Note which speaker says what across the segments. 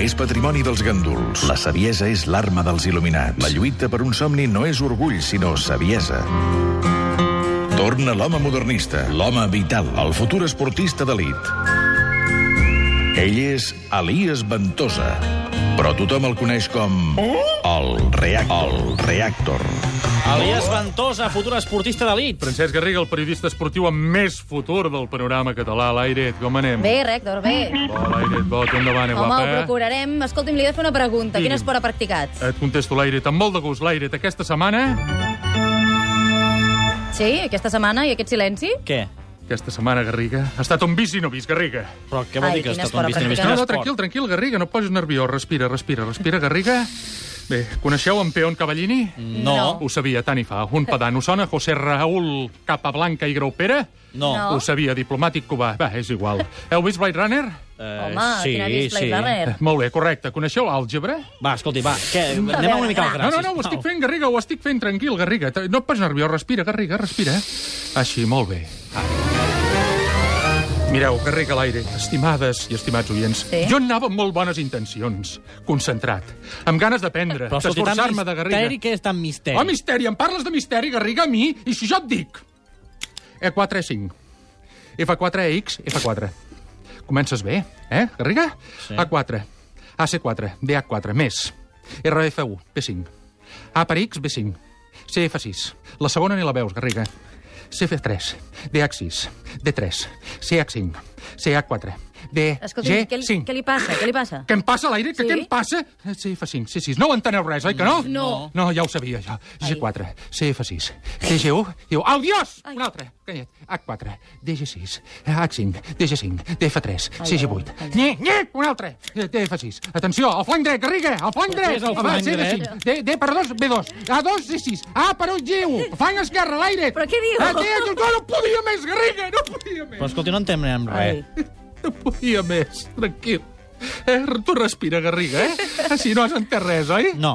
Speaker 1: és patrimoni dels ganduls. La saviesa és l'arma dels il·luminats. La lluita per un somni no és orgull, sinó saviesa. Torna l'home modernista, l'home vital, el futur esportista d'elit. Ell és Elias Ventosa, però tothom el coneix com... El Reactor. El Reactor.
Speaker 2: Elias Ventosa, futur esportista d'elit.
Speaker 3: Francesc Garriga, el periodista esportiu amb més futur del panorama català. L'Airet, com anem?
Speaker 4: Bé, Rector, bé.
Speaker 3: Bo, l'Airet, bo, tu endavant, eh,
Speaker 4: Home,
Speaker 3: guapa.
Speaker 4: ho procurarem. Escolti'm, li he de fer una pregunta. Quin
Speaker 3: Digui'm.
Speaker 4: esport ha practicat?
Speaker 3: Et contesto, l'Airet, amb molt de gust. L'Airet, aquesta setmana...
Speaker 4: Sí, aquesta setmana i aquest silenci?
Speaker 2: Què?
Speaker 3: Aquesta setmana, Garriga, ha estat un vis i no vis, Garriga.
Speaker 2: Però què vol
Speaker 4: Ai,
Speaker 2: dir que
Speaker 4: quin
Speaker 2: ha estat
Speaker 4: esport,
Speaker 2: un vist?
Speaker 4: pràcticament.
Speaker 2: vist?
Speaker 4: Quin
Speaker 3: No, no, tranquil, tranquil, Garriga, no et posis nerviós. Respira, respira, respira, Garriga. Bé, coneixeu en Peón Cavallini?
Speaker 2: No,
Speaker 3: Ho sabia, tant hi fa. Un pedant. Us sona José Raúl Capablanca i Graupera?
Speaker 2: no.
Speaker 4: No.
Speaker 3: Ho sabia, diplomàtic cubà. Va, és igual. Heu vist Blade Runner?
Speaker 2: Eh,
Speaker 4: Home, quina display runner.
Speaker 3: Molt bé, correcte. Coneixeu l'àlgebra?
Speaker 2: Va, escolti, va, que, anem una mica al
Speaker 3: No,
Speaker 2: gra.
Speaker 3: no, no, ho
Speaker 2: sisplau.
Speaker 3: estic fent, Garriga, ho estic fent, tranquil, Garriga. T- No et pas nerviós, respira, Garriga, respira. eh? Així, molt bé. Ah. Mireu, Garriga a l'aire, estimades i estimats oients.
Speaker 4: Sí?
Speaker 3: Jo anava amb molt bones intencions, concentrat, amb ganes d'aprendre,
Speaker 2: Però escolti, tan
Speaker 3: d'esforçar-me de Garriga.
Speaker 2: misteri que és tan misteri.
Speaker 3: Oh, misteri, em parles de misteri, Garriga, a mi, i si jo et dic... E E4, E5. F4, EX, F4. Comences bé, eh, Garriga?
Speaker 2: Sí.
Speaker 3: A4, AC4, DH4, més. RF1, B5. A per X, B5. CF6. La segona ni la veus, Garriga. CF3, DH6, D3, CH5, CH4, D,
Speaker 4: Escolti'm, què, li,
Speaker 3: G5.
Speaker 4: què li passa? Què li passa?
Speaker 3: Què em passa a l'aire? Que
Speaker 4: Sí?
Speaker 3: què em passa? Eh, CF5, C6. No ho enteneu res, oi que no?
Speaker 4: No.
Speaker 3: No, ja ho sabia, jo. G4, CF6, DG1... Diu, au, Dios!
Speaker 4: Ai.
Speaker 3: Un altre. Canyet. H4, DG6, H5, DG5, DF3, CG8. Nye, nye! Un altre. DF6. Atenció, al flanc dret, Garriga! Al flanc
Speaker 2: Què
Speaker 3: dret!
Speaker 2: és el
Speaker 3: Va,
Speaker 2: flanc
Speaker 3: CF5, D, D per 2, B2. A2, C6. A per 1, G1. Flanc esquerre, a l'aire.
Speaker 4: Però què diu?
Speaker 3: Ah, què? No, no podia més, Garriga! No podia més!
Speaker 2: Però escolti, no entenem res.
Speaker 4: Ai.
Speaker 3: No podia més, tranquil. Eh, tu respira, Garriga, eh? Així no has entès res, oi?
Speaker 2: No.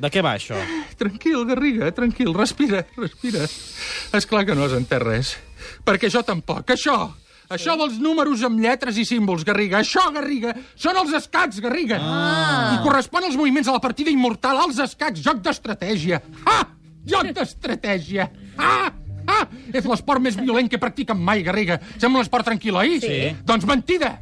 Speaker 2: De què va, això?
Speaker 3: Tranquil, Garriga, tranquil, respira, respira. És clar que no has entès res, perquè jo tampoc. Això, això dels números amb lletres i símbols, Garriga, això, Garriga, són els escacs, Garriga. Ah. I correspon als moviments de la partida immortal, als escacs, joc d'estratègia. Ah! Joc d'estratègia! Ah! Ah! És l'esport més violent que practiquen mai, Garriga. Sembla un esport tranquil, oi?
Speaker 2: Sí.
Speaker 3: Doncs mentida!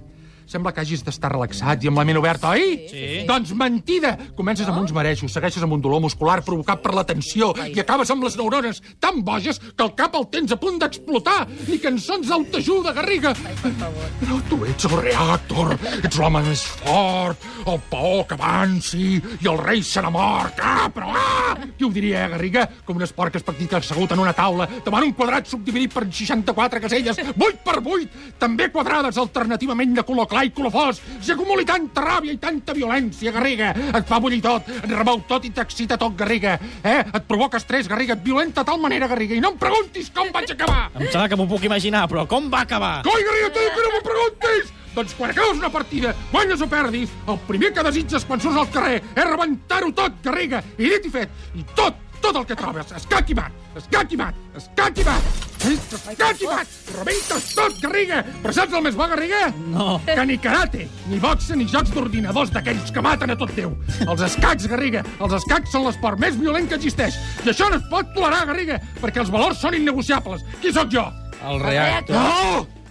Speaker 3: Sembla que hagis d'estar relaxat i amb la ment oberta, oi?
Speaker 2: Sí.
Speaker 3: Doncs mentida! Comences amb uns marejos, segueixes amb un dolor muscular provocat per la tensió i acabes amb les neurones tan boges que el cap el tens a punt d'explotar! Ni cançons d'autoajuda, Garriga! Però tu ets el reactor, ets l'home més fort, el paó que avanci i el rei serà mort! Ah, però ah! Qui ho diria, eh, Garriga? Com un esport que es practica assegut en una taula davant un quadrat subdividit per 64 caselles, 8 per 8, també quadrades alternativament de color clar i color fosc, i acumuli tanta ràbia i tanta violència, Garriga. Et fa bullir tot, et remou tot i t'excita tot, Garriga. Eh? Et provoca estrès, Garriga, et violenta de tal manera, Garriga, i no em preguntis com vaig acabar.
Speaker 2: Em sembla que m'ho puc imaginar, però com va acabar?
Speaker 3: Coi, Garriga, t'he dit que no m'ho preguntis! Doncs quan acabes una partida, guanyes o perdis, el primer que desitges quan surts al carrer és rebentar-ho tot, Garriga, i dit i fet, i tot, tot el que trobes, escac i mat, escac i mat, escac i mat, escac i mat, rebentes tot, Garriga, però saps el més bo, Garriga?
Speaker 2: No.
Speaker 3: Que ni karate, ni boxa, ni jocs d'ordinadors d'aquells que maten a tot Déu. Els escacs, Garriga, els escacs són l'esport més violent que existeix. I això no es pot tolerar, Garriga, perquè els valors són innegociables. Qui sóc jo?
Speaker 2: El
Speaker 4: reactor.
Speaker 3: No!